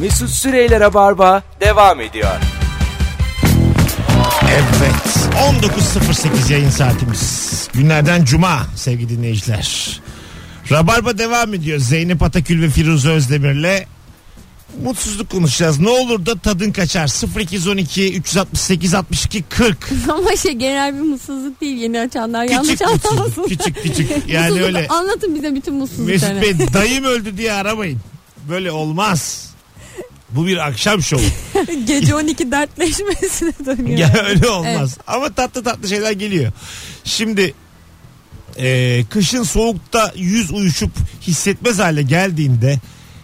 Mesut Süreyler'e barba devam ediyor. Evet. 19.08 yayın saatimiz. Günlerden cuma sevgili dinleyiciler. Rabarba devam ediyor. Zeynep Atakül ve Firuze Özdemir'le mutsuzluk konuşacağız. Ne olur da tadın kaçar. 0212 368 62 40. Ama şey genel bir mutsuzluk değil yeni açanlar yanlış Küçük anlamasın. mutsuzluk. Küçük küçük. Yani Mutsuzluk- öyle Anlatın bize bütün Mesut mutsuzluklarını. Bey dayım öldü diye aramayın. Böyle olmaz. Bu bir akşam şovu. Gece 12 dertleşmesine dönüyor. Ya öyle olmaz. Ama tatlı tatlı şeyler geliyor. Şimdi e, kışın soğukta yüz uyuşup hissetmez hale geldiğinde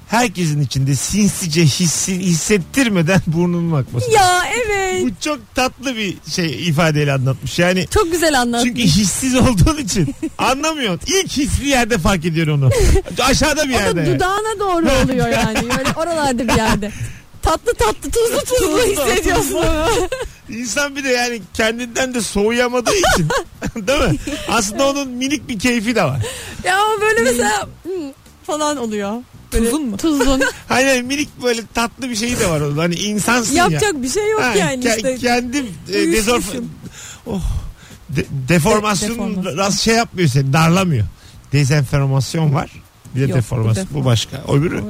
herkesin içinde sinsice hissi, hissettirmeden burnunun akması. Ya evet. Bu çok tatlı bir şey ifadeyle anlatmış. Yani Çok güzel anlattın. çünkü hissiz olduğun için anlamıyorsun. İlk hisli yerde fark ediyorsun onu. Aşağıda bir O da yerde. dudağına doğru oluyor yani. Böyle oralarda bir yerde. Tatlı tatlı tuzlu tuzlu hissediyorsun. İnsan bir de yani kendinden de soğuyamadığı için değil mi? Aslında onun minik bir keyfi de var. ya böyle mesela hmm, falan oluyor. tuzun mu? Tuzun. Hani minik böyle tatlı bir şey de var onun. Hani insansın ya. Yapacak bir şey yok Ha, yani ke- işte. Kendim e, Uyuşmuşum. dezorf- Oh. De- deformasyon, De- deformasyon. rast şey yapmıyor seni darlamıyor. Dezenformasyon var. Bir de Yok, bu deformasyon. Bu, deform- başka. Öbürü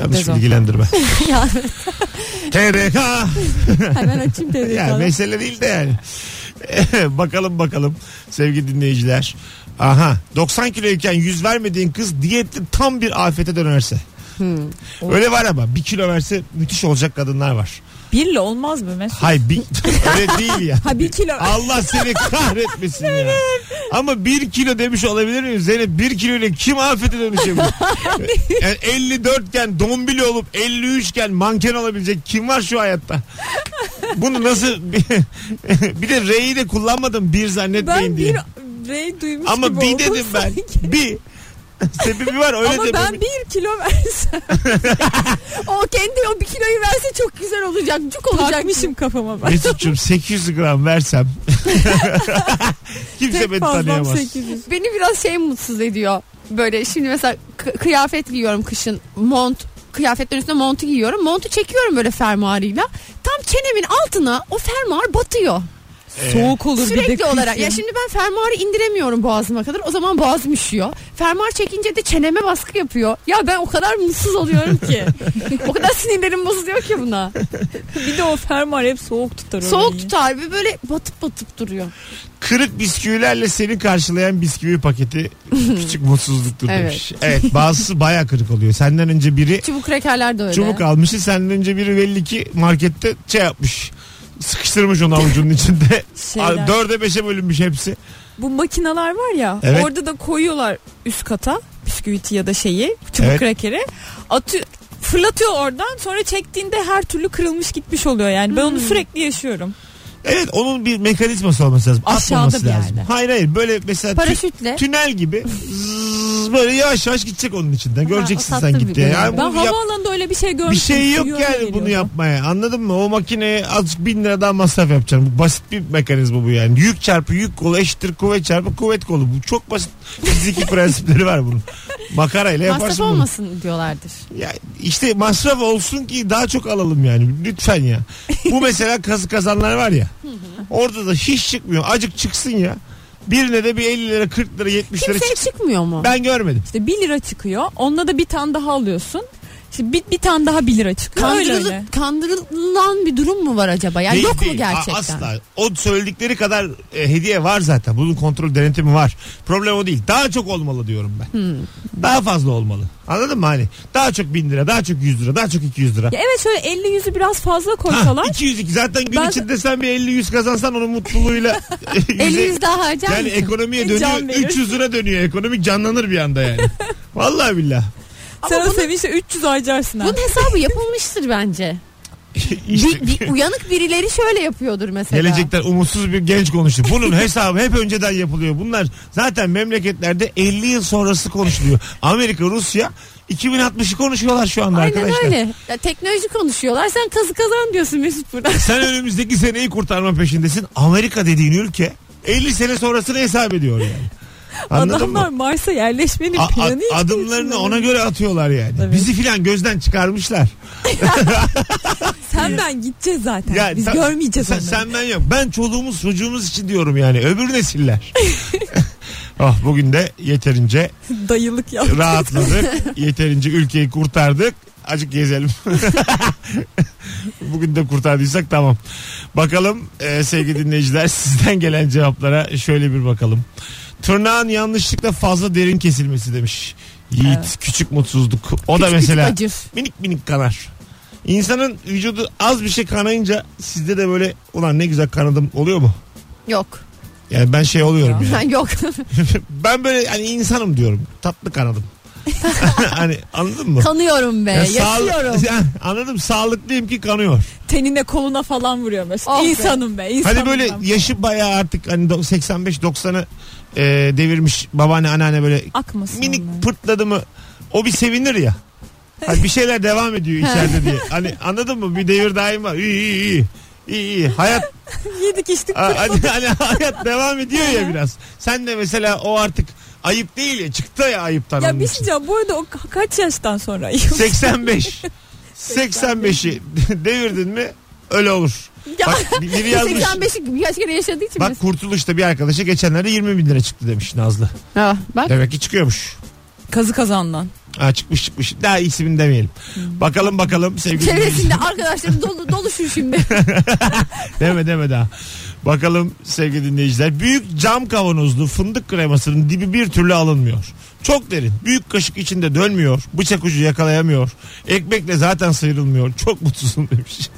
yanlış Dezenform- bilgilendirme. ya, TDK. hemen açayım telefonu. ya mesele değil de yani. bakalım bakalım sevgili dinleyiciler. Aha 90 kiloyken yüz vermediğin kız diyetli tam bir afete dönerse. Hmm, Öyle var ama bir kilo verse müthiş olacak kadınlar var. Birle olmaz mı Mesut? Hay bir öyle değil ya. Ha bir kilo. Allah seni kahretmesin ya. Ama bir kilo demiş olabilir miyim Zeynep? Bir kilo ile kim afete dönüşebilir? yani 54 iken dombili olup 53 iken manken olabilecek kim var şu hayatta? Bunu nasıl bir, bir de R'yi de kullanmadım bir zannetmeyin Ben diye. bir rey duymuş gibi Ama bir oldum dedim ben. sanki. Bir. Sebebi var öyle Ama de ben bir kilo versem. o kendi o bir kiloyu verse çok güzel olacak. Cuk olacak. Takmışım kafama ben. Mesut'cum 800 gram versem kimse şey beni tanıyamaz. Beni biraz şey mutsuz ediyor. Böyle şimdi mesela kı- kıyafet giyiyorum kışın. Mont kıyafetlerin üstüne montu giyiyorum. Montu çekiyorum böyle fermuarıyla. Tam çenemin altına o fermuar batıyor. Ee, Soğuk olur bir de. Sürekli kışın. olarak. Ya şimdi ben fermuarı indiremiyorum boğazıma kadar. O zaman boğazım üşüyor. Fermuar çekince de çeneme baskı yapıyor. Ya ben o kadar mutsuz oluyorum ki. o kadar sinirlerim bozuluyor ki buna. Bir de o fermuar hep soğuk tutar. Soğuk orayı. tutar ve böyle batıp batıp duruyor. kırık bisküvilerle seni karşılayan bisküvi paketi küçük mutsuzluktur Evet. demiş. Evet bazısı baya kırık oluyor. Senden önce biri Çubuk rekerler de öyle. çubuk almıştı senden önce biri belli ki markette şey yapmış. Sıkıştırmış onu avucunun içinde. Şeyler. Dörde beşe bölünmüş hepsi. Bu makineler var ya Evet. orada da koyuyorlar üst kata bisküviti ya da şeyi çubuk Evet. krakeri. Atı, fırlatıyor oradan sonra çektiğinde her türlü kırılmış gitmiş oluyor yani. Ben onu sürekli yaşıyorum. Evet onun bir mekanizması olması lazım. Aşağıda Atmaması bir lazım. yerde. Hayır hayır böyle mesela tü- Paraşütle. tünnel gibi zzz böyle yavaş yavaş gidecek onun içinden. Göreceksin o sen tatlı bir gitti. Yani deneyim. Ben bunu yap- havaalanında öyle bir şey görmüştüm. bir şey yok Yürüyorum, yani bunu geliyorum. yapmaya. Anladın mı? O makineye azıcık bin lira daha masraf yapacaksın. Bu basit bir mekanizma bu yani. Yük çarpı yük kolu eşittir kuvvet çarpı kuvvet kolu. Bu çok basit fiziki prensipleri var bunun. Makarayla Masraf yaparsın bunu. olmasın diyorlardır. Ya işte masraf olsun ki daha çok alalım yani. Lütfen ya. Bu mesela kazı kazanlar var ya. Orada da hiç çıkmıyor. Acık çıksın ya. Birine de bir 50 lira 40 lira 70 lira Kimseye çıksın. çıkmıyor mu? Ben görmedim. İşte 1 lira çıkıyor. Onunla da bir tane daha alıyorsun. İşte bir, bir tane daha 1 lira çıkıyor. Öyle Kandırıl- öyle. kandırılan bir durum mu var acaba? Yani Değil, yok mu değil. A- gerçekten? Asla. O söyledikleri kadar e, hediye var zaten. Bunun kontrol denetimi var. Problem o değil. Daha çok olmalı diyorum ben. Daha fazla olmalı. Anladın mı hani? Daha çok bin lira, daha çok yüz lira, daha çok 200 lira. Ya evet şöyle 50 yüzü biraz fazla Ha, koysalar. 200 iki. Zaten gün Ben- içinde sen bir 50 100 kazansan onun mutluluğuyla yüze- 50 yüz daha harcar yani mısın? ekonomiye Can dönüyor. verir. 300 lira dönüyor. Ekonomik canlanır bir anda yani. Vallahi billah. Sen Ama o bunun- sevinçle 300 harcarsın ha. Bunun hesabı yapılmıştır bence. İşte- Bir- bir uyanık birileri şöyle yapıyordur mesela. Gelecekten umutsuz bir genç konuştu. Bunun hesabı hep önceden yapılıyor. Bunlar zaten memleketlerde 50 yıl sonrası konuşuluyor. Amerika, Rusya 2060'ı konuşuyorlar şu anda Aynen arkadaşlar. öyle. Ya, teknoloji konuşuyorlar. Sen kazı kazan diyorsun Mesut burada. Sen önümüzdeki seneyi kurtarma peşindesin. Amerika dediğin ülke 50 sene sonrasını hesap ediyor yani. Anladın Adamlar mı? Mars'a yerleşmenin A- a- planı için adımlarını içinde. ona göre atıyorlar yani. Evet. Bizi filan gözden çıkarmışlar. Sen ben gideceğiz zaten. Ya Biz sen- görmeyeceğiz sen, onları. sen ben yok. Ben çoluğumuz çocuğumuz için diyorum yani. Öbür nesiller. Ah bugün de yeterince Dayılık yap. rahatladık. yeterince ülkeyi kurtardık. Acık gezelim. Bugün de kurtardıysak tamam. Bakalım e, sevgili dinleyiciler sizden gelen cevaplara şöyle bir bakalım. Tırnağın yanlışlıkla fazla derin kesilmesi demiş. Yiğit küçük mutsuzluk. O da Küçük mesela küçük acır. minik minik kanar. İnsanın vücudu az bir şey kanayınca sizde de böyle ulan ne güzel kanadım oluyor mu? Yok. Yani ben şey oluyorum yani. Yok. ben böyle hani insanım diyorum. Tatlı kanadım. hani anladın mı? Kanıyorum be. Ee, Ya sağl- yaşıyorum. Ya anladım sağlıklıyım ki kanıyor. Tenine koluna falan vuruyor mesela. Oh be. insanım be. insanım Hani böyle ben. yaşı bayağı artık hani 85-90'ı e, devirmiş babaanne anneanne böyle Akmasın onlar. minik pırtladı mı o bir sevinir ya. Hani bir şeyler devam ediyor içeride diye. Hani anladın mı? Bir devir daim var. İyi iyi iyi. İyi iyi. Hayat Yedik içtik. a- hani, hani hayat devam ediyor ya biraz. Sen de mesela o artık ayıp değil ya. Çıktı ya ayıptan. Ya onun bir şey için. diyeceğim. Bu arada o ka- kaç yaştan sonra? 85. 85'i devirdin mi öyle olur. Ya, Bak biri yazmış. 85'i birkaç kere yaşadığı için Bak kurtuluşta bir arkadaşa geçenlerde 20 bin lira çıktı demiş Nazlı. Ha, bak. Demek ki çıkıyormuş. Kazı kazandan. Ha çıkmış çıkmış. Daha ismini demeyelim. Bakalım bakalım sevgili Hmm. Çevresinde dinleyiciler. arkadaşlarım dolu, doluşur şimdi. Deme deme daha. Bakalım sevgili dinleyiciler. Büyük cam kavanozlu fındık kremasının dibi bir türlü alınmıyor. Çok derin. Büyük kaşık içinde dönmüyor. Bıçak ucu yakalayamıyor. Ekmekle zaten sıyrılmıyor. Çok mutsuzum demiş.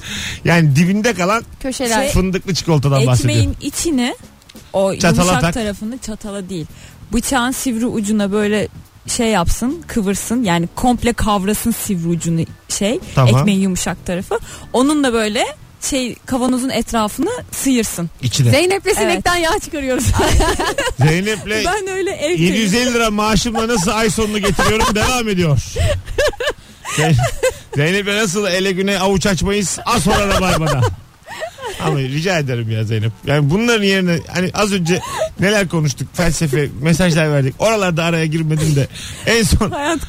Yani dibinde kalan Köşeler. Şey- fındıklı çikolatadan bahsediyor. Ekmeğin içine o Çatala yumuşak tak. tarafını çatala değil. Bıçağın sivri ucuna böyle şey yapsın kıvırsın yani komple kavrasın sivri ucunu şey Tamam. ekmeğin yumuşak tarafı onunla böyle şey kavanozun etrafını sıyırsın. İçine. Zeynep'le sinekten yağ çıkarıyoruz. Zeynep'le Ben öyle ev temiz- 750 lira maaşımla nasıl ay sonunu getiriyorum devam ediyor. Zeyn- Zeynep'e nasıl ele güne avuç açmayız az sonra rabarbada. Ama rica ederim ya Zeynep. Yani bunların yerine hani az önce neler konuştuk felsefe mesajlar verdik. Oralarda araya girmedim de en son Hayat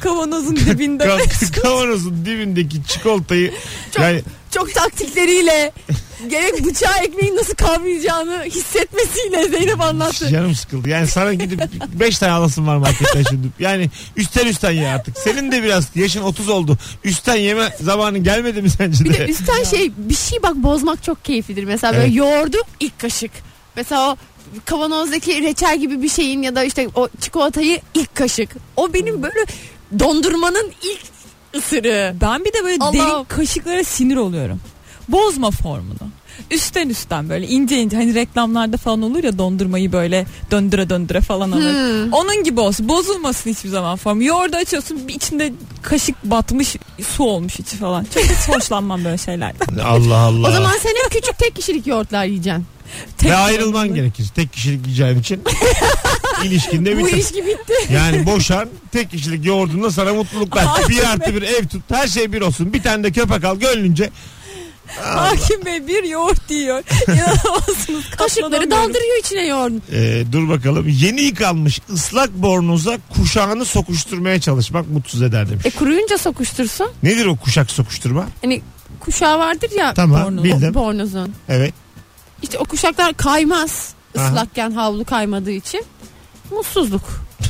kavanozun dibinde. ka- kavanozun dibindeki çikolatayı Çok- yani Çok taktikleriyle gerek bıçağı ekmeğin nasıl kavrayacağını hissetmesiyle Zeynep anlattı. Canım sıkıldı. Yani sana gidip 5 tane alasın var marketten şimdi. Yani üstten üstten ye artık. Senin de biraz yaşın 30 oldu. Üstten yeme zamanın gelmedi mi sence Bir de de? üstten şey bir şey bak bozmak çok keyiflidir. Mesela böyle Evet. yoğurdu ilk kaşık. Mesela o kavanozdaki reçel gibi bir şeyin ya da işte o çikolatayı ilk kaşık. O benim böyle dondurmanın ilk ısırığı. Ben bir de böyle Allah'ım. derin kaşıklara sinir oluyorum. Bozma formunu. Üstten üstten böyle ince ince hani reklamlarda falan olur ya dondurmayı böyle döndüre döndüre falan alır. Hmm. Onun gibi olsun. Bozulmasın hiçbir zaman formu. Yoğurdu açıyorsun bir içinde kaşık batmış su olmuş içi falan. Çok hiç hoşlanmam böyle şeylerden. Hani Allah Allah. O zaman sen hep küçük tek kişilik yoğurtlar yiyeceksin. Tek Ve ayrılman formunda. gerekir. Tek kişilik yiyeceğin için. ilişkinde Bu bitir. ilişki bitti. Yani boşan tek kişilik yoğurdunda sana mutluluklar. bir artı bir ev tut. Her şey bir olsun. Bir tane de köpek al gönlünce. Hakim Bey bir yoğurt yiyor. İnanamazsınız. Kaşıkları katlanamıyorum. daldırıyor içine yoğurdun. Ee, dur bakalım. Yeni yıkanmış ıslak bornoza kuşağını sokuşturmaya çalışmak mutsuz eder demiş. E kuruyunca sokuştursun. Nedir o kuşak sokuşturma? Hani kuşağı vardır ya Tamam Bornoz. bildim. bornozun. Evet. İşte o kuşaklar kaymaz. Aha. Islakken havlu kaymadığı için. Mutsuzluk.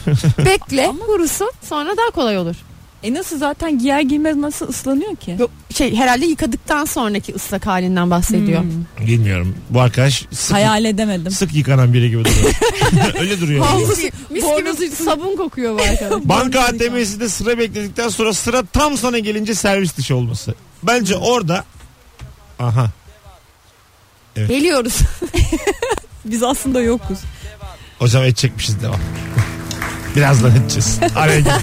Bekle kurusun sonra daha kolay olur. E nasıl zaten giyer giymez nasıl ıslanıyor ki? Yok, şey herhalde yıkadıktan sonraki ıslak halinden bahsediyor. Hmm. Bilmiyorum. Bu arkadaş sık, Hayal edemedim. sık yıkanan biri gibi duruyor. Öyle duruyor. Havlu- yani. Mis, mis gibi Bornoz- sabun kokuyor bu arkadaş. Banka ATM'sinde sıra bekledikten sonra sıra tam sana gelince servis dışı olması. Bence orada aha Geliyoruz. Biz aslında yokuz. o zaman edecekmişiz devam. Birazdan edeceğiz. Araya girdim.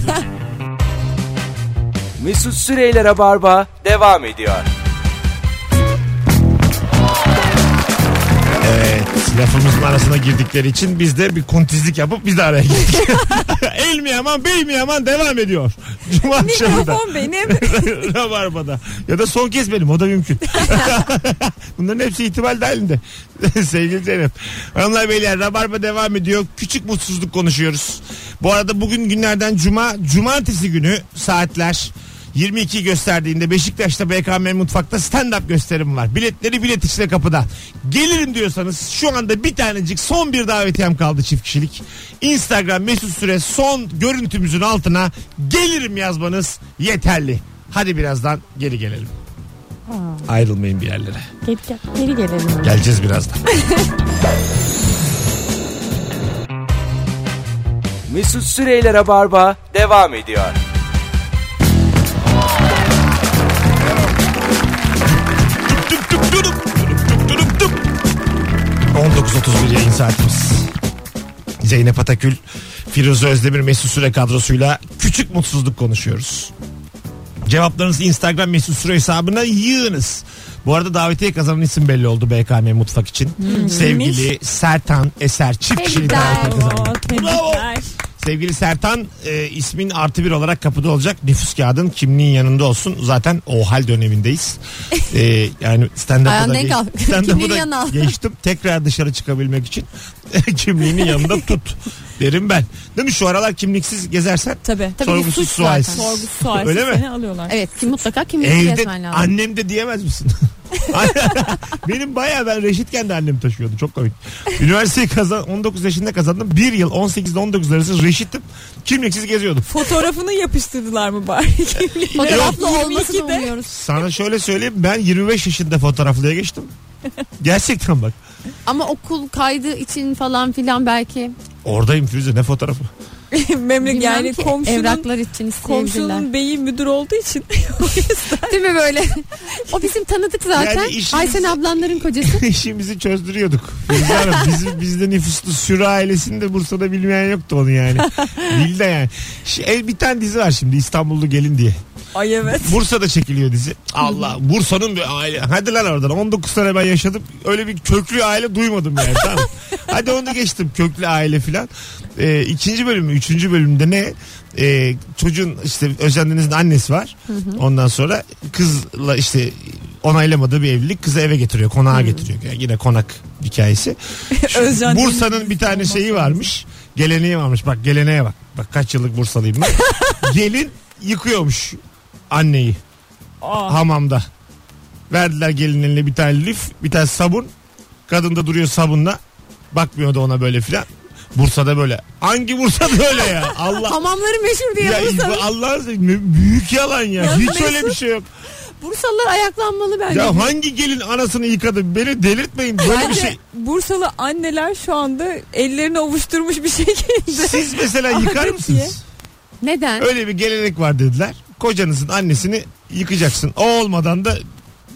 Mesut Süreyler'e barba devam ediyor. Evet. Lafımızın arasına girdikleri için biz de bir kontizlik yapıp biz de araya girdik. El mi yaman bey mi yaman devam ediyor. Cuma akşamı da. Mikrofon benim. Rabarba'da. Ya da son kez benim o da mümkün. Bunların hepsi ihtimal dahilinde. Sevgili Zeynep. Hanımlar beyler Rabarba devam ediyor. Küçük mutsuzluk konuşuyoruz. Bu arada bugün günlerden cuma. Cumartesi günü saatler 22 gösterdiğinde Beşiktaş'ta BKM Mutfak'ta stand-up gösterim var. Biletleri bilet içine kapıda. Gelirim diyorsanız şu anda bir tanecik son bir davetiyem kaldı çift kişilik. Instagram mesut süre son görüntümüzün altına gelirim yazmanız yeterli. Hadi birazdan geri gelelim. Ayrılmayın bir yerlere. Geri, gel- geri gelelim. Geleceğiz birazdan. Mesut Süreyler'e barba devam ediyor. Tüp tüp tüdüp, tüdüp tüp tüdüp tüp. 19.31 yayın saatimiz. Zeynep Atakül, Firuze Özdemir, Mesut Süre kadrosuyla küçük mutsuzluk konuşuyoruz. Cevaplarınızı Instagram Mesut Süre hesabına yığınız. Bu arada davetiye kazanan isim belli oldu BKM Mutfak için. Sevgili Sertan Eser çift kişilik davetiye kazandı. Tebrikler. Sevgili Sertan e, ismin artı bir olarak kapıda olacak. Nüfus kağıdın kimliğin yanında olsun. Zaten o hal dönemindeyiz. E, yani stand-up'a da, Ayağından geç, kal. stand-up'ı Kimliğini da yanına al. geçtim. Tekrar dışarı çıkabilmek için kimliğini yanında tut derim ben. Değil mi şu aralar kimliksiz gezersen Tabii. Tabii bir sorgusuz suç zaten. sualsiz. Sorgu sualsiz Öyle mi? seni alıyorlar. Evet kim- mutlaka kimliğini Evde kesmen lazım. annem de diyemez misin? Benim baya ben reşitken de annem taşıyordu. Çok komik. Üniversiteyi kazan 19 yaşında kazandım. Bir yıl 18 ile 19 arası reşittim. Kimliksiz geziyordum. Fotoğrafını yapıştırdılar mı bari kimliğine? Fotoğraflı olmasını 22'de. umuyoruz. Sana şöyle söyleyeyim ben 25 yaşında fotoğraflıya geçtim. Gerçekten bak. Ama okul kaydı için falan filan belki. Oradayım Firuze ne fotoğrafı? Memlek Bilmem yani ki, komşunun evraklar için isteyebilirler. komşunun beyi müdür olduğu için o yüzden Değil mi böyle? o bizim tanıdık zaten. Yani işimiz- Aysen ablanların kocası. İşimizi çözdürüyorduk. Firuze Hanım biz, bizde nüfuslu sürü ailesinde Bursa'da bilmeyen yoktu onu yani. Bildi yani. Şi- e, bir tane dizi var şimdi İstanbullu Gelin diye. ay evet Bursa'da çekiliyor dizi. Allah Bursa'nın bir aile. Hadi lan oradan 19 sene ben yaşadım. Öyle bir köklü aile duymadım yani. tamam. Hadi onu geçtim köklü aile filan. Ee, ikinci bölümü, üçüncü bölümde ne? Ee, çocuğun işte Özcan annesi var. Ondan sonra kızla işte onaylamadığı bir evlilik kızı eve getiriyor. Konağa getiriyor. Yani yine konak hikayesi. Şu Özcan Bursa'nın bir tane şeyi varmış. Geleneği varmış. Bak geleneğe bak. Bak kaç yıllık Bursalıyım ben. Gelin yıkıyormuş anneyi Aa, hamamda. Verdiler gelin eline bir tane lif, bir tane sabun. Kadın da duruyor sabunla. Bakmıyor da ona böyle filan. Bursa'da böyle. Hangi Bursa'da öyle ya? Allah. Hamamları meşhur diye ya Bursa. bu Allah'ın seveyim, ne büyük yalan ya. Ya Hiç Mesut. öyle bir şey yok. Bursalılar ayaklanmalı bence. Ya hangi gelin anasını yıkadı? Beni delirtmeyin. Böyle bir Bence şey. Bursalı anneler şu anda ellerini ovuşturmuş bir şey şekilde. Siz mesela yıkar Adet diye. mısınız? Neden? Öyle bir gelenek var dediler. Kocanızın annesini yıkacaksın. O olmadan da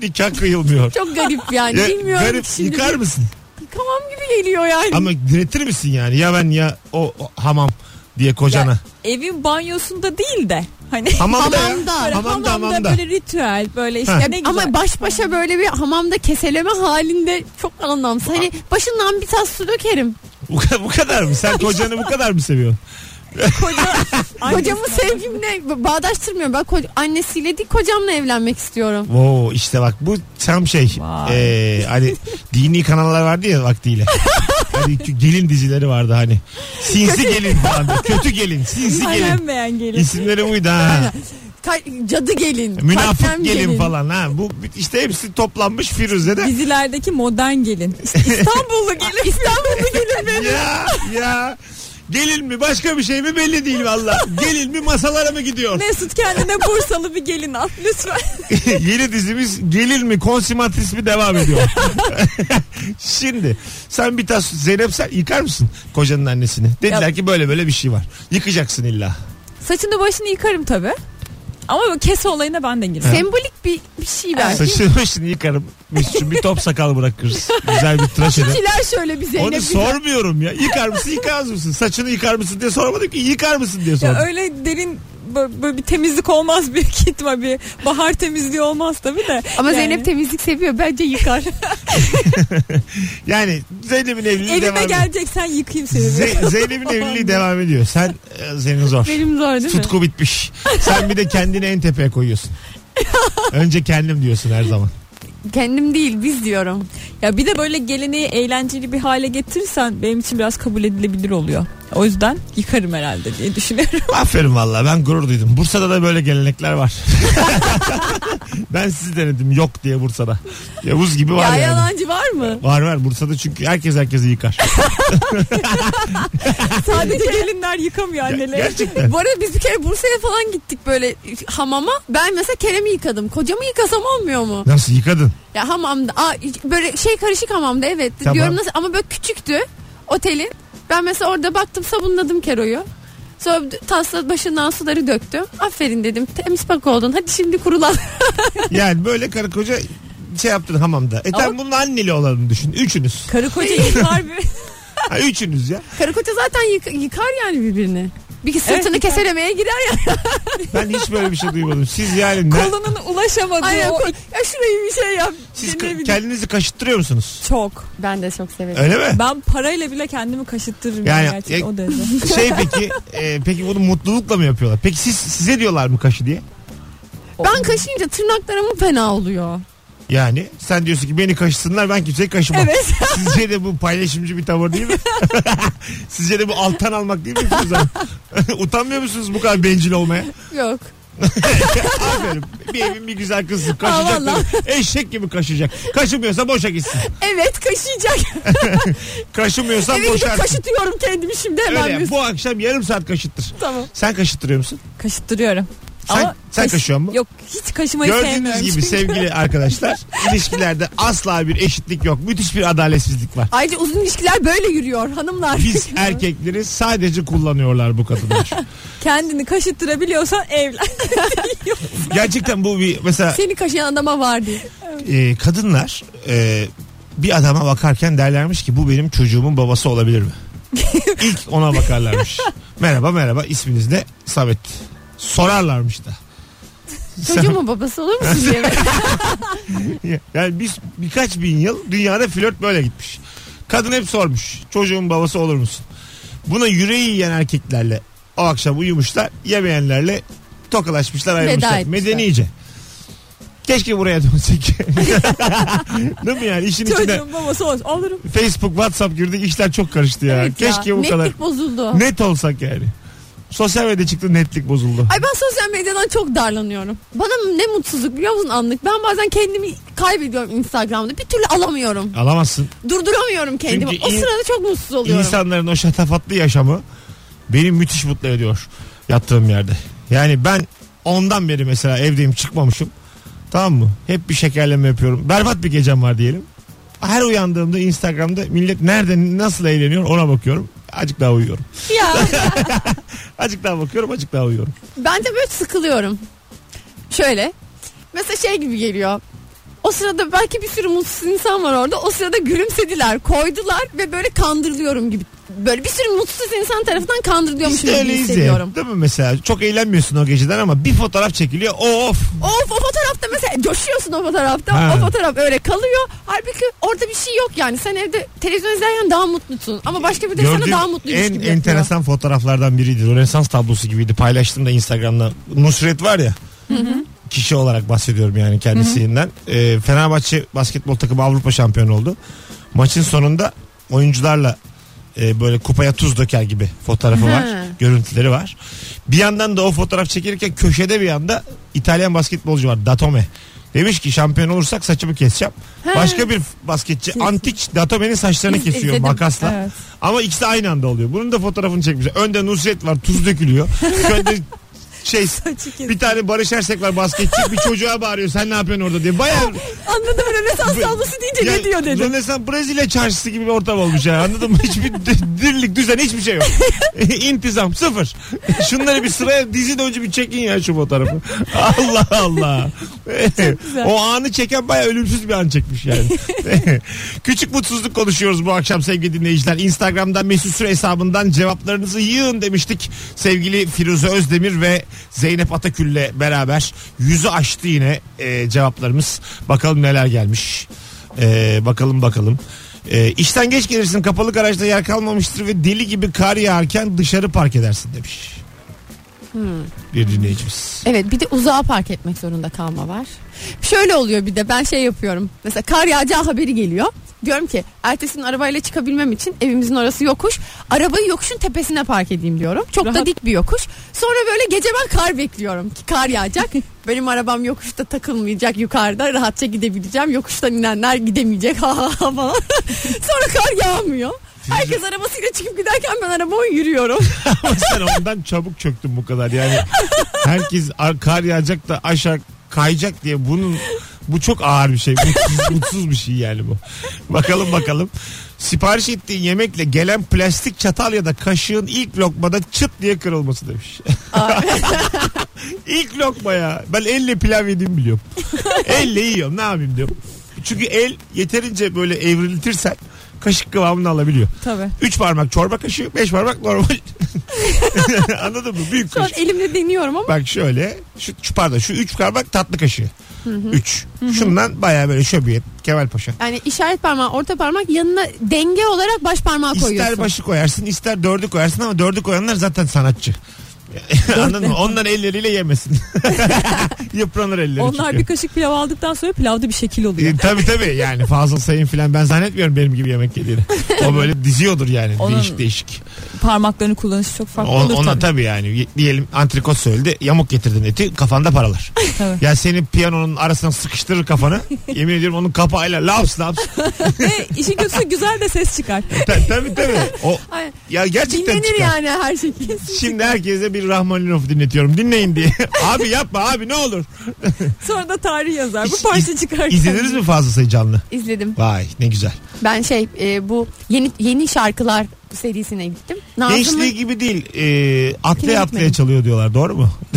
nikah kıyılmıyor. Çok garip yani. Ya, Bilmiyorum garip ki şimdi. yıkar mısın? Yıkamam gibi geliyor yani. Ama diretir misin yani? Ya ben ya o, o hamam diye kocana. Ya, evin banyosunda değil de hani hamamda, hamamda. ya. böyle Hamamda hamamda, hamamda. böyle ritüel böyle Ha. işte ne güzel. Ama baş başa böyle bir hamamda keseleme halinde çok anlamsız. Hani başından bir tas su dökerim. Bu, ka- bu kadar mı? Sen kocanı bu kadar mı seviyorsun? Annesi- Kocamı sevgimle bağdaştırmıyorum. Ben ko- annesiyle değil kocamla evlenmek istiyorum. Oo işte bak bu tam şey. Vay. Ee, hani dini kanallar vardı ya vaktiyle. Hani kü- gelin dizileri vardı hani. Sinsi gelin falan. da. Kötü gelin, sinsi gelin. Kalembeyen gelin. İsimleri uydu ha. Ka- cadı gelin. Münafık kalplem gelin falan ha. Bu işte hepsi toplanmış Firuze'de. Dizilerdeki modern gelin. İstanbullu gelin. İstanbullu gelin ya ya. Gelin mi başka bir şey mi belli değil valla. Gelin mi masalara mı gidiyor? Mesut kendine Bursalı bir gelin al lütfen. Yeni dizimiz Gelin mi Konsimatris mi devam ediyor. Şimdi sen bir tas Zeynep sen yıkar mısın kocanın annesini? Dediler Ya- ki böyle böyle bir şey var. Yıkacaksın illa. Saçını başını yıkarım tabi. Ama bu kese olayına ben de girmem. Sembolik bir, bir şey belki. Saçını başını yıkarım. Biz şu bir top sakal bırakırız. Güzel bir tıraş eder. Kiler şöyle bir Zeynep. Onu Güzel. sormuyorum ya. Yıkar mısın yıkaz mısın? Saçını yıkar mısın diye sormadım ki yıkar mısın diye Ya sordum. öyle derin böyle, böyle bir temizlik olmaz büyük ihtimal bir bahar temizliği olmaz tabii de. Ama Yani Zeynep temizlik seviyor. Bence yıkar. Yani Zeynep'in evliliği evime devam ediyor. geleceksen yıkayayım seni. Ze- Zeynep'in evliliği devam ediyor. Sen e, senin zor. Benim zor değil mi? Tutku bitmiş. Sen bir de kendini en tepeye koyuyorsun. Önce kendim diyorsun her zaman. Kendim değil biz diyorum. Ya bir de böyle geleneği eğlenceli bir hale getirirsen benim için biraz kabul edilebilir oluyor. O yüzden yıkarım herhalde diye düşünüyorum. Aferin valla ben gurur duydum. Bursa'da da böyle gelenekler var. ben sizi denedim yok diye Bursa'da. Yavuz gibi var ya yani. yalancı var mı? Var var Bursa'da çünkü herkes herkesi yıkar. Sadece gelinler yıkamıyor anneler. Gerçekten. Bu arada biz bir kere Bursa'ya falan gittik böyle hamama. Ben mesela Kerem'i yıkadım. Kocamı yıkasam olmuyor mu? Nasıl yıkadın? Ya hamamda aa, böyle şey karışık hamamda evet. Tamam. Diyorum nasıl ama böyle küçüktü otelin. Ben mesela orada baktım sabunladım Kero'yu. Sonra tasla başından suları döktüm. Aferin dedim. Temiz bak oldun. Hadi şimdi kurulan. Yani böyle karı koca şey yaptın hamamda. E tamam bunun anneli olanını düşün. Üçünüz. Karı koca yıkar bir. Ha, üçünüz ya. Karı koca zaten yık- yıkar yani birbirini. Bir sırtını yıkar. keseremeye girer ya. Ben hiç böyle bir şey duymadım. Siz yani ne, Kolunun ulaşamadığı Aynen. o ko- Ya şurayı bir şey yap. siz ka- Denilebilir. kendinizi kaşıttırıyor musunuz? çok. Ben de çok severim. Öyle mi? Ben parayla bile kendimi kaşıttırırım Yani- yani, gerçekten o derece. Şey peki e, peki bunu mutlulukla mı yapıyorlar? Peki siz size diyorlar mı kaşı diye? Ben kaşıyınca tırnaklarımın fena oluyor. Yani sen diyorsun ki beni kaşısınlar ben kimseyi kaşımam. Evet. Sizce de bu paylaşımcı bir tavır değil mi? Sizce de bu alttan almak değil mi Firuze Hanım? Utanmıyor musunuz bu kadar bencil olmaya? Yok. Aferin. Bir evin bir güzel kızı Aa, kaşıyacak. vallahi. tabii. Eşek gibi kaşıyacak. Kaşımıyorsa boşa gitsin. Evet kaşıyacak. Kaşımıyorsa Eve gidip boşa kaşıtıyorum kendimi şimdi hemen. Öyle yap. bir- bu akşam yarım saat kaşıttır. Tamam. Sen kaşıttırıyor musun? Kaşıttırıyorum. Sen, Ama sen kaş- kaşıyor musun? Yok hiç kaşımayı Gördüğünüz sevmiyorum. gibi çünkü. sevgili arkadaşlar ilişkilerde asla bir eşitlik yok. Müthiş bir adaletsizlik var. Ayrıca uzun ilişkiler böyle yürüyor hanımlar. Biz er- erkekleri sadece kullanıyorlar bu kadınlar. Kendini kaşıttırabiliyorsan evlen. Gerçekten bu bir mesela Seni kaşıyan adama var diye. e, kadınlar e, bir adama bakarken derlermiş ki bu benim çocuğumun babası olabilir mi? İlk ona bakarlarmış. merhaba merhaba isminiz ne? Samet. Sorarlarmış da. Çocuğumun babası olur musun diye. Yani biz birkaç bin yıl dünyada flört böyle gitmiş. Kadın hep sormuş. Çocuğun babası olur musun? Buna yüreği yiyen erkeklerle o akşam uyumuşlar. Yemeyenlerle tokalaşmışlar ayrılmışlar. etmişler. Medenice. Keşke buraya dönsek. Değil mi yani? İşin içinde Çocuğun babası olsun. Alırım. Facebook, WhatsApp girdik. işler çok karıştı ya. Evet ya, Keşke bu Netlik kadar bozuldu. net olsak yani. Sosyal medya çıktı netlik bozuldu. Ay ben sosyal medyadan çok darlanıyorum. Bana ne mutsuzluk biliyor musun anlık. Ben bazen kendimi kaybediyorum Instagram'da. Bir türlü alamıyorum. Alamazsın. Durduramıyorum kendimi. Çünkü o in- sırada çok mutsuz oluyorum. İnsanların o şatafatlı yaşamı beni müthiş mutlu ediyor yattığım yerde. Yani ben ondan beri mesela evdeyim çıkmamışım. Tamam mı? Hep bir şekerleme yapıyorum. Berbat bir gecem var diyelim. Her uyandığımda Instagram'da millet nerede nasıl eğleniyor ona bakıyorum. Acık daha uyuyorum. Ya Acık daha bakıyorum, acık daha uyuyorum. ben de böyle sıkılıyorum. Şöyle. Mesela şey gibi geliyor. O sırada belki bir sürü mutsuz insan var orada. O sırada gülümsediler, koydular ve böyle kandırılıyorum gibi. Böyle bir sürü mutsuz insan tarafından Biz kandırılıyormuşum de gibi öyleyiz ya. hissediyorum. Değil mi mesela? Çok eğlenmiyorsun o geceden ama bir fotoğraf çekiliyor. Of! Of o fotoğrafta mesela coşuyorsun o fotoğrafta. Ha. O fotoğraf öyle kalıyor. Halbuki orada bir şey yok yani. Sen evde televizyon izlerken daha mutlusun. Ama başka bir de sana Gördüğüm daha mutluymuş en gibi yapıyor. enteresan fotoğraflardan biriydi. Rönesans tablosu gibiydi. Paylaştım da Instagram'da. Nusret var ya. Kişi olarak bahsediyorum yani kendisinden. Ee, Fenerbahçe basketbol takımı Avrupa şampiyonu oldu. Maçın sonunda oyuncularla e, böyle kupaya tuz döker gibi fotoğrafı Hı. var. Görüntüleri var. Bir yandan da o fotoğraf çekilirken köşede bir yanda İtalyan basketbolcu var Datome. Demiş ki şampiyon olursak saçımı keseceğim. Başka bir basketçi antik Datome'nin saçlarını İz- kesiyor izledim. makasla. Evet. Ama ikisi aynı anda oluyor. Bunun da fotoğrafını çekmişler. Önde Nusret var tuz dökülüyor. Önde şey bir tane Barış Ersek var basketçi bir çocuğa bağırıyor sen ne yapıyorsun orada diye. Bayağı Anladım Rönesans tablosu deyince ya, ne diyor dedim. Rönesans Brezilya çarşısı gibi bir ortam olmuş yani anladın mı? Hiçbir d- dirlik düzen hiçbir şey yok. İntizam sıfır. Şunları bir sıraya dizin önce bir çekin ya şu fotoğrafı. Allah Allah. o anı çeken baya ölümsüz bir an çekmiş yani. Küçük mutsuzluk konuşuyoruz bu akşam sevgili dinleyiciler. Instagram'dan Mesut Süre hesabından cevaplarınızı yığın demiştik. Sevgili Firuze Özdemir ve Zeynep Atakül'le beraber yüzü aştı yine e, cevaplarımız. Bakalım neler gelmiş. E, bakalım bakalım. E, işten geç gelirsin kapalı garajda yer kalmamıştır ve deli gibi kar yağarken dışarı park edersin demiş. Bir dinleyicimiz. Evet bir de uzağa park etmek zorunda kalma var. Şöyle oluyor bir de ben şey yapıyorum. Mesela kar yağacağı haberi geliyor. Diyorum ki ertesinin arabayla çıkabilmem için evimizin orası yokuş. Arabayı yokuşun tepesine park edeyim diyorum. Çok da Rahat. dik bir yokuş. Sonra böyle gece ben kar bekliyorum ki kar yağacak. Benim arabam yokuşta takılmayacak yukarıda rahatça gidebileceğim. Yokuştan inenler gidemeyecek ha ha ha falan. Sonra kar yağmıyor. Herkes arabasıyla çıkıp giderken ben arabamı yürüyorum. Ama sen ondan çabuk çöktün bu kadar yani. Herkes ar- kar yağacak da aşağı kayacak diye bunun bu çok ağır bir şey. Mutsuz, mutsuz bir şey yani bu. Bakalım bakalım. Sipariş ettiğin yemekle gelen plastik çatal ya da kaşığın ilk lokmada çıt diye kırılması demiş. ilk lokma ya. Ben elle pilav yediğimi biliyorum. elle yiyorum ne yapayım diyorum. Çünkü el yeterince böyle evriltirsen kaşık kıvamını alabiliyor. Tabii. Üç parmak çorba kaşığı, beş parmak normal. Anladın mı? Büyük Şu an kaşık. elimle deniyorum ama Bak şöyle, şu, şu pardon şu üç parmak tatlı kaşığı. Üç. Şundan baya böyle şöbiyet, Kemal Paşa. Yani işaret parmağı, orta parmak yanına denge olarak baş parmağı koyuyorsun. İster başı koyarsın, ister dördü koyarsın ama dördü koyanlar zaten sanatçı. Anladın mı? Ondan elleriyle yemesin. Yıpranır elleri. Onlar çünkü. bir kaşık pilav aldıktan sonra pilavda bir şekil oluyor. E, tabii tabii yani Fazıl Sayın filan ben zannetmiyorum benim gibi yemek yediğini. O böyle diziyordur yani Onun- değişik değişik. Parmaklarını kullanışı çok farklı On- olur ona tabii. tabii. yani Y- diyelim antrikot söyledi yamuk getirdin eti kafanda paralar. Tabii. Ya seni piyanonun arasına sıkıştırır kafanı. Yemin ediyorum onun kapağıyla laps laps. E, Ve işin kötüsü güzel de ses çıkar. Ta- tabii tabii. O, Ay, ya gerçekten Dinlenir çıkar. yani her şey. şekilde. Şimdi herkese bir Rahmaninov dinletiyorum. Dinleyin diye. abi yapma abi ne olur. Sonra da tarih yazar. İz- Bu parça çıkar. İzlediniz mi Fazıl Sayı canlı? İzledim. Vay ne güzel. Ben şey e, bu yeni yeni şarkılar serisine gittim. Gençliği Nazım'ın gibi değil. E, atlaya atlaya gitmedim. çalıyor diyorlar. Doğru mu?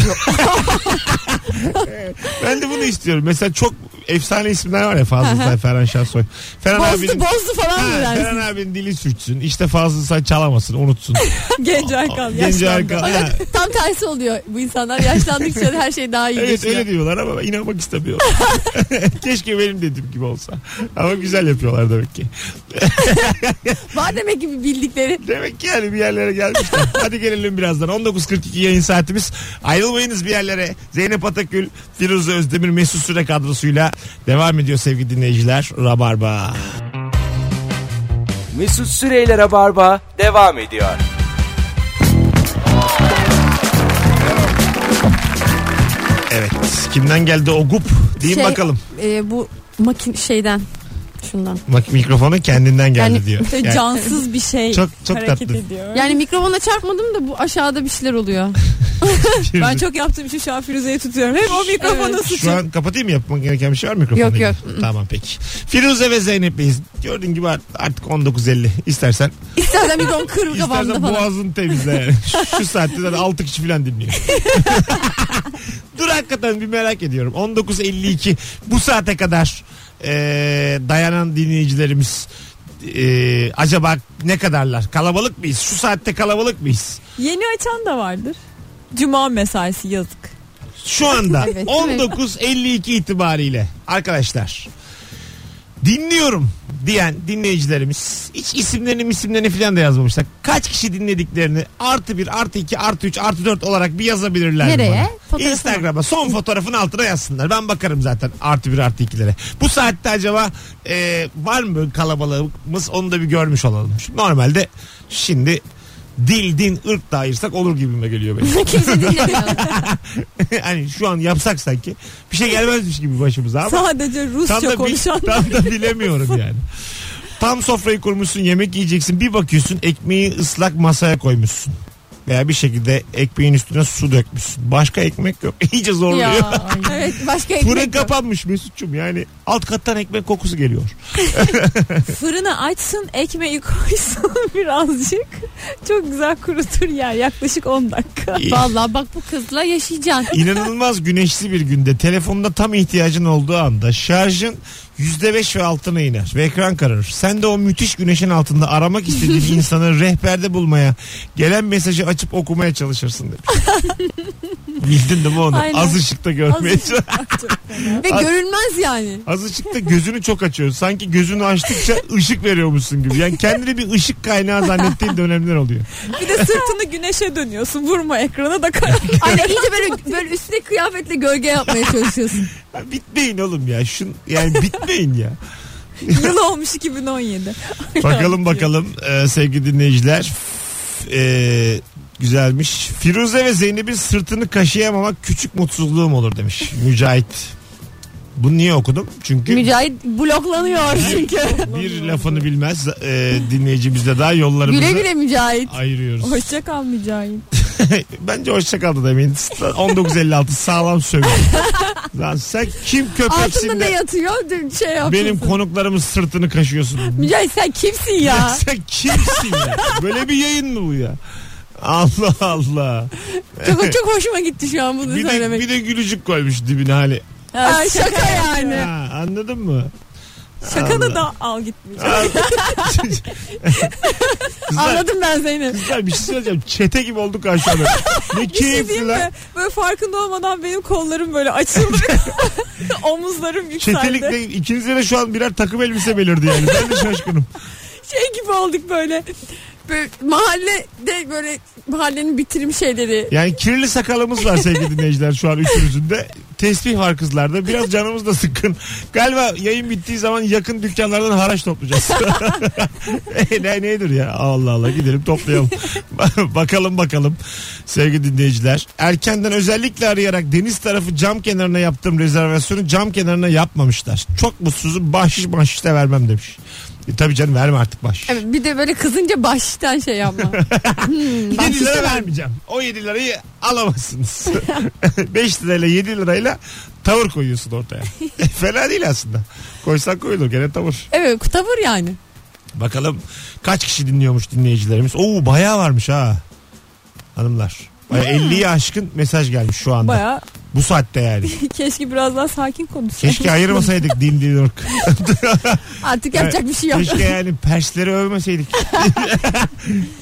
ben de bunu istiyorum. Mesela çok efsane isimler var ya Fazıl Say, Ferhan Şahsoy. Ferhan bozdu abinin- bozdu falan mı Ha, dersin? Ferhan abinin dili sürtsün. İşte Fazıl Say çalamasın, unutsun. Genç Erkan. Genç yaşlandı. Erkan. Ha, Tam tersi oluyor bu insanlar yaşlandıkça her şey daha iyi Evet geçiyor. öyle diyorlar ama ben inanmak istemiyorum. Keşke benim dediğim gibi olsa. Ama güzel yapıyorlar demek ki. Var demek ki bildikleri. Demek ki yani bir yerlere gelmişler. Hadi gelelim birazdan. 19.42 yayın saatimiz. Ayrılmayınız bir yerlere. Zeynep Atakül, Firuze Özdemir, Mesut Süre kadrosuyla devam ediyor sevgili dinleyiciler. Rabarba. Mesut Süreyler'e barba devam ediyor. Evet. Kimden geldi o gup? Deyin Şey, bakalım. e, bu makin şeyden şundan. Bak mikrofonu kendinden geldi Yani- diyor. Böyle Yani Cansız bir şey Çok- çok hareket tatlı. ediyor. Yani mikrofona çarpmadım da bu aşağıda bir şeyler oluyor. Firuze- ben çok yaptığım için şu an Firuze'yi tutuyorum. Hem o mikrofonu Evet. Şu sıçın. an kapatayım mı? Yapmak gereken bir şey var mı mikrofonda? Yok, yok. Tamam peki. Firuze ve Zeynep Bey'iz. Gördüğün gibi art- artık 19.50 istersen. İstersen bir don kır kafamda istersen falan. boğazını temizle yani. Şu- Şu saatte zaten 6 kişi falan dinliyor. Dur hakikaten bir merak ediyorum. 19.52 bu saate kadar e, dayanan dinleyicilerimiz e, acaba ne kadarlar? Kalabalık mıyız? Şu saatte kalabalık mıyız? Yeni açan da vardır. Cuma mesaisi yazık. Şu anda Evet, evet. 19.52 itibariyle arkadaşlar dinliyorum diyen dinleyicilerimiz hiç isimlerini isimlerini falan da yazmamışlar. Kaç kişi dinlediklerini artı 1, artı 2, artı 3, artı 4 olarak bir yazabilirler mi Nereye? bana? Fotoğrafına. Instagram'a son fotoğrafın altına yazsınlar. Ben bakarım zaten artı 1, artı 2'lere. Bu saatte acaba e, var mı böyle kalabalığımız onu da bir görmüş olalım. Şimdi Normalde şimdi dil, din, ırk da ayırsak olur gibime geliyor benim. Kimse dinlemiyor. hani şu an yapsak sanki bir şey gelmezmiş gibi başımıza ama Sadece tam Rusça da, bil- konuşan. tam da bilemiyorum yani. Tam sofrayı kurmuşsun yemek yiyeceksin bir bakıyorsun ekmeği ıslak masaya koymuşsun. Veya bir şekilde ekmeğin üstüne su dökmüşsün. Başka ekmek yok. İyice zorluyor. ya, evet başka ekmek Fırın yok. kapanmış Mesut'cum yani alt kattan ekmek kokusu geliyor. Fırını açsın ekmeği koysun birazcık. Çok güzel kurutur yer yaklaşık 10 dakika. İyi. Vallahi bak bu kızla yaşayacaksın. İnanılmaz güneşli bir günde telefonda tam ihtiyacın olduğu anda şarjın %5 ve altına iner ve ekran kararır. Sen de o müthiş güneşin altında aramak istediğin insanı rehberde bulmaya gelen mesajı açıp okumaya çalışırsın demiş. Bildin değil mi onu? Aynen. Az ışıkta Az görmeye çalış. Ve görülmez yani. Az ışıkta gözünü çok açıyorsun. Sanki gözünü açtıkça ışık veriyormuşsun gibi. Yani kendini bir ışık kaynağı zannettiğin dönemler oluyor. bir de sırtını güneşe dönüyorsun. Vurma ekrana da karar. Aynen iyice böyle, böyle üstüne kıyafetle gölge yapmaya çalışıyorsun. Ya bitmeyin oğlum ya. Şun, yani bitmeyin ya. Yıl olmuş 2017. Bakalım bakalım e, sevgili dinleyiciler. E, güzelmiş. Firuze ve Zeynep'in sırtını kaşıyamamak küçük mutsuzluğum olur demiş. Mücahit. Bunu niye okudum? Çünkü Mücahit bloklanıyor çünkü. bir lafını bilmez e, dinleyicimizle daha yollarımızı güle güle Mücahit. ayırıyoruz. Hoşça kal Mücahit. Bence hoşça kal da demeyin. 1956 sağlam sövüyor. Lan sen kim köpeksin Altında de ne yatıyor? Dün Şey yapıyorsun. benim konuklarımın sırtını kaşıyorsun. Mücahit sen kimsin ya? sen kimsin ya? Böyle bir yayın mı bu ya? Allah Allah. çok, çok hoşuma gitti şu an bunu bir de, söylemek. bir de gülücük koymuş dibine hani. Aa, şaka yani. Ha, anladın mı? Şakanı da al gitmiş. Kızlar, Anladım ben Zeynep. kızlar bir şey söyleyeceğim. Çete gibi olduk ha şu anda. Ne Bir şey diyeyim keyifli lan. mi? Böyle farkında olmadan benim kollarım böyle açıldı. Omuzlarım yükseldi. Çetelikle ikinize de şu an birer takım elbise belirdi yani. Ben de şaşkınım. Şey gibi olduk böyle. Böyle mahallede böyle mahallenin bitirim şeyleri. Yani kirli sakalımız var sevgili dinleyiciler şu an üçümüzün de. Tesbih var kızlarda. Biraz canımız da sıkkın. Galiba yayın bittiği zaman yakın dükkanlardan haraç toplayacağız. e, ne, nedir ya? Allah Allah gidelim toplayalım. bakalım bakalım sevgili dinleyiciler. Erkenden özellikle arayarak deniz tarafı cam kenarına yaptığım rezervasyonu cam kenarına yapmamışlar. Çok mutsuzum bahşiş bahşiş de vermem demiş. E, tabii canım verme artık bahşiş. Evet, bir de böyle kızınca bahşişten şey yapma. hmm, 7 bahşiş lira de- vermeyeceğim. O 7 lirayı alamazsınız. 5 lirayla 7 lirayla tavır koyuyorsun ortaya. E, Fena değil aslında. Koysan koyulur gene tavır. Evet kutavur yani. Bakalım kaç kişi dinliyormuş dinleyicilerimiz. Oo bayağı varmış ha. Hanımlar. Bayağı 50'yi aşkın mesaj gelmiş şu anda. Baya Bu saatte yani. keşke biraz daha sakin konuşsaydım. Keşke ayırmasaydık din din ırk. Artık yapacak bir şey yok. Keşke yani Persleri övmeseydik.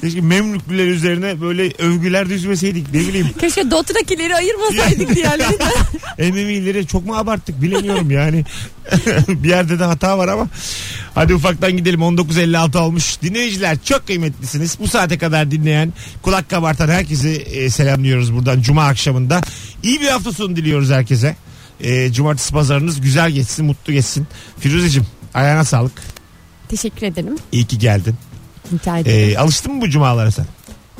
Keşke Memlüklüler üzerine böyle övgüler düşmeseydik ne bileyim. Keşke Dot'takileri ayırmasaydık diğerleri. MMI'leri çok mu abarttık bilemiyorum yani. bir yerde de hata var ama. Hadi ufaktan gidelim 19.56 olmuş. Dinleyiciler çok kıymetlisiniz. Bu saate kadar dinleyen kulak kabartan herkesi e, selamlıyoruz buradan Cuma akşamında. İyi bir hafta sonu diliyoruz herkese. E, cumartesi pazarınız güzel geçsin mutlu geçsin. Firuzeciğim ayağına sağlık. Teşekkür ederim. İyi ki geldin. Rica ederim. E, alıştın mı bu cumalara sen?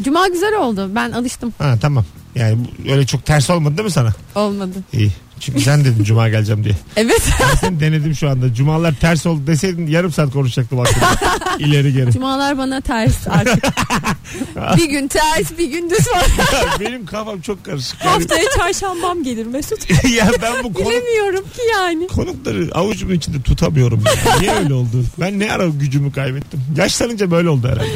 Cuma güzel oldu. Ben alıştım. Ha tamam. Yani bu- öyle çok ters olmadı değil mi sana? Olmadı. İyi. Çünkü sen dedin cuma geleceğim diye. Evet. Seni denedim şu anda. Cumalar ters oldu deseydin yarım saat konuşacaktım aslında. İleri geri. Cumalar bana ters artık. bir gün ters bir gün düz var. Benim kafam çok karışık. Yani, Haftaya çarşambam gelir Mesut. ya ben bu konuk, Bilemiyorum ki yani. konukları avucumun içinde tutamıyorum. ya. Niye öyle oldu? Ben ne ara gücümü kaybettim? Yaşlanınca böyle oldu herhalde.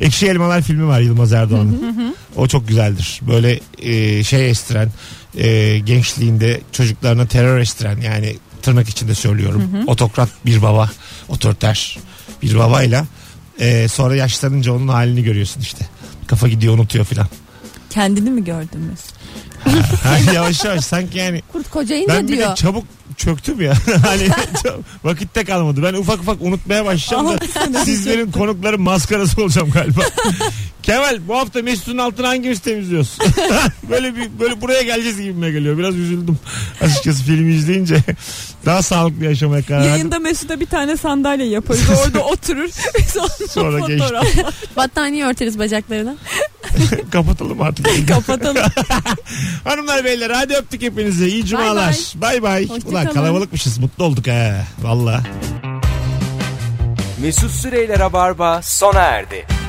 Ekşi Elmalar filmi var Yılmaz Erdoğan'ın. o çok güzeldir. Böyle e, şey estiren, e, gençliğinde çocuklarına terör estiren yani tırnak içinde söylüyorum. Otokrat bir baba, otoriter bir babayla e, sonra yaşlanınca onun halini görüyorsun işte. Kafa gidiyor unutuyor filan. Kendini mi gördün Mesut? Ha, yavaş yavaş sanki yani Kurt kocayınca ben bir de diyor. çabuk çöktüm ya. hani çab- vakitte kalmadı. Ben ufak ufak unutmaya başlayacağım da sizlerin konukların maskarası olacağım galiba. Kemal bu hafta Mesut'un altını hangimiz temizliyoruz? böyle bir böyle buraya geleceğiz gibime geliyor. Biraz üzüldüm. Açıkçası filmi izleyince daha sağlıklı yaşamaya karar verdim. Yayında Mesut'a bir tane sandalye yaparız. Orada oturur. Biz onunla Sonra geçti. fotoğraf Battaniye örteriz bacaklarına. Kapatalım artık. kapatalım. Hanımlar beyler hadi öptük hepinizi. İyi cumalar. Bay bay. Hoşça Ulan kalın. kalabalıkmışız. Mutlu olduk ha. Vallahi. Mesut Süreyler'e barba sona erdi.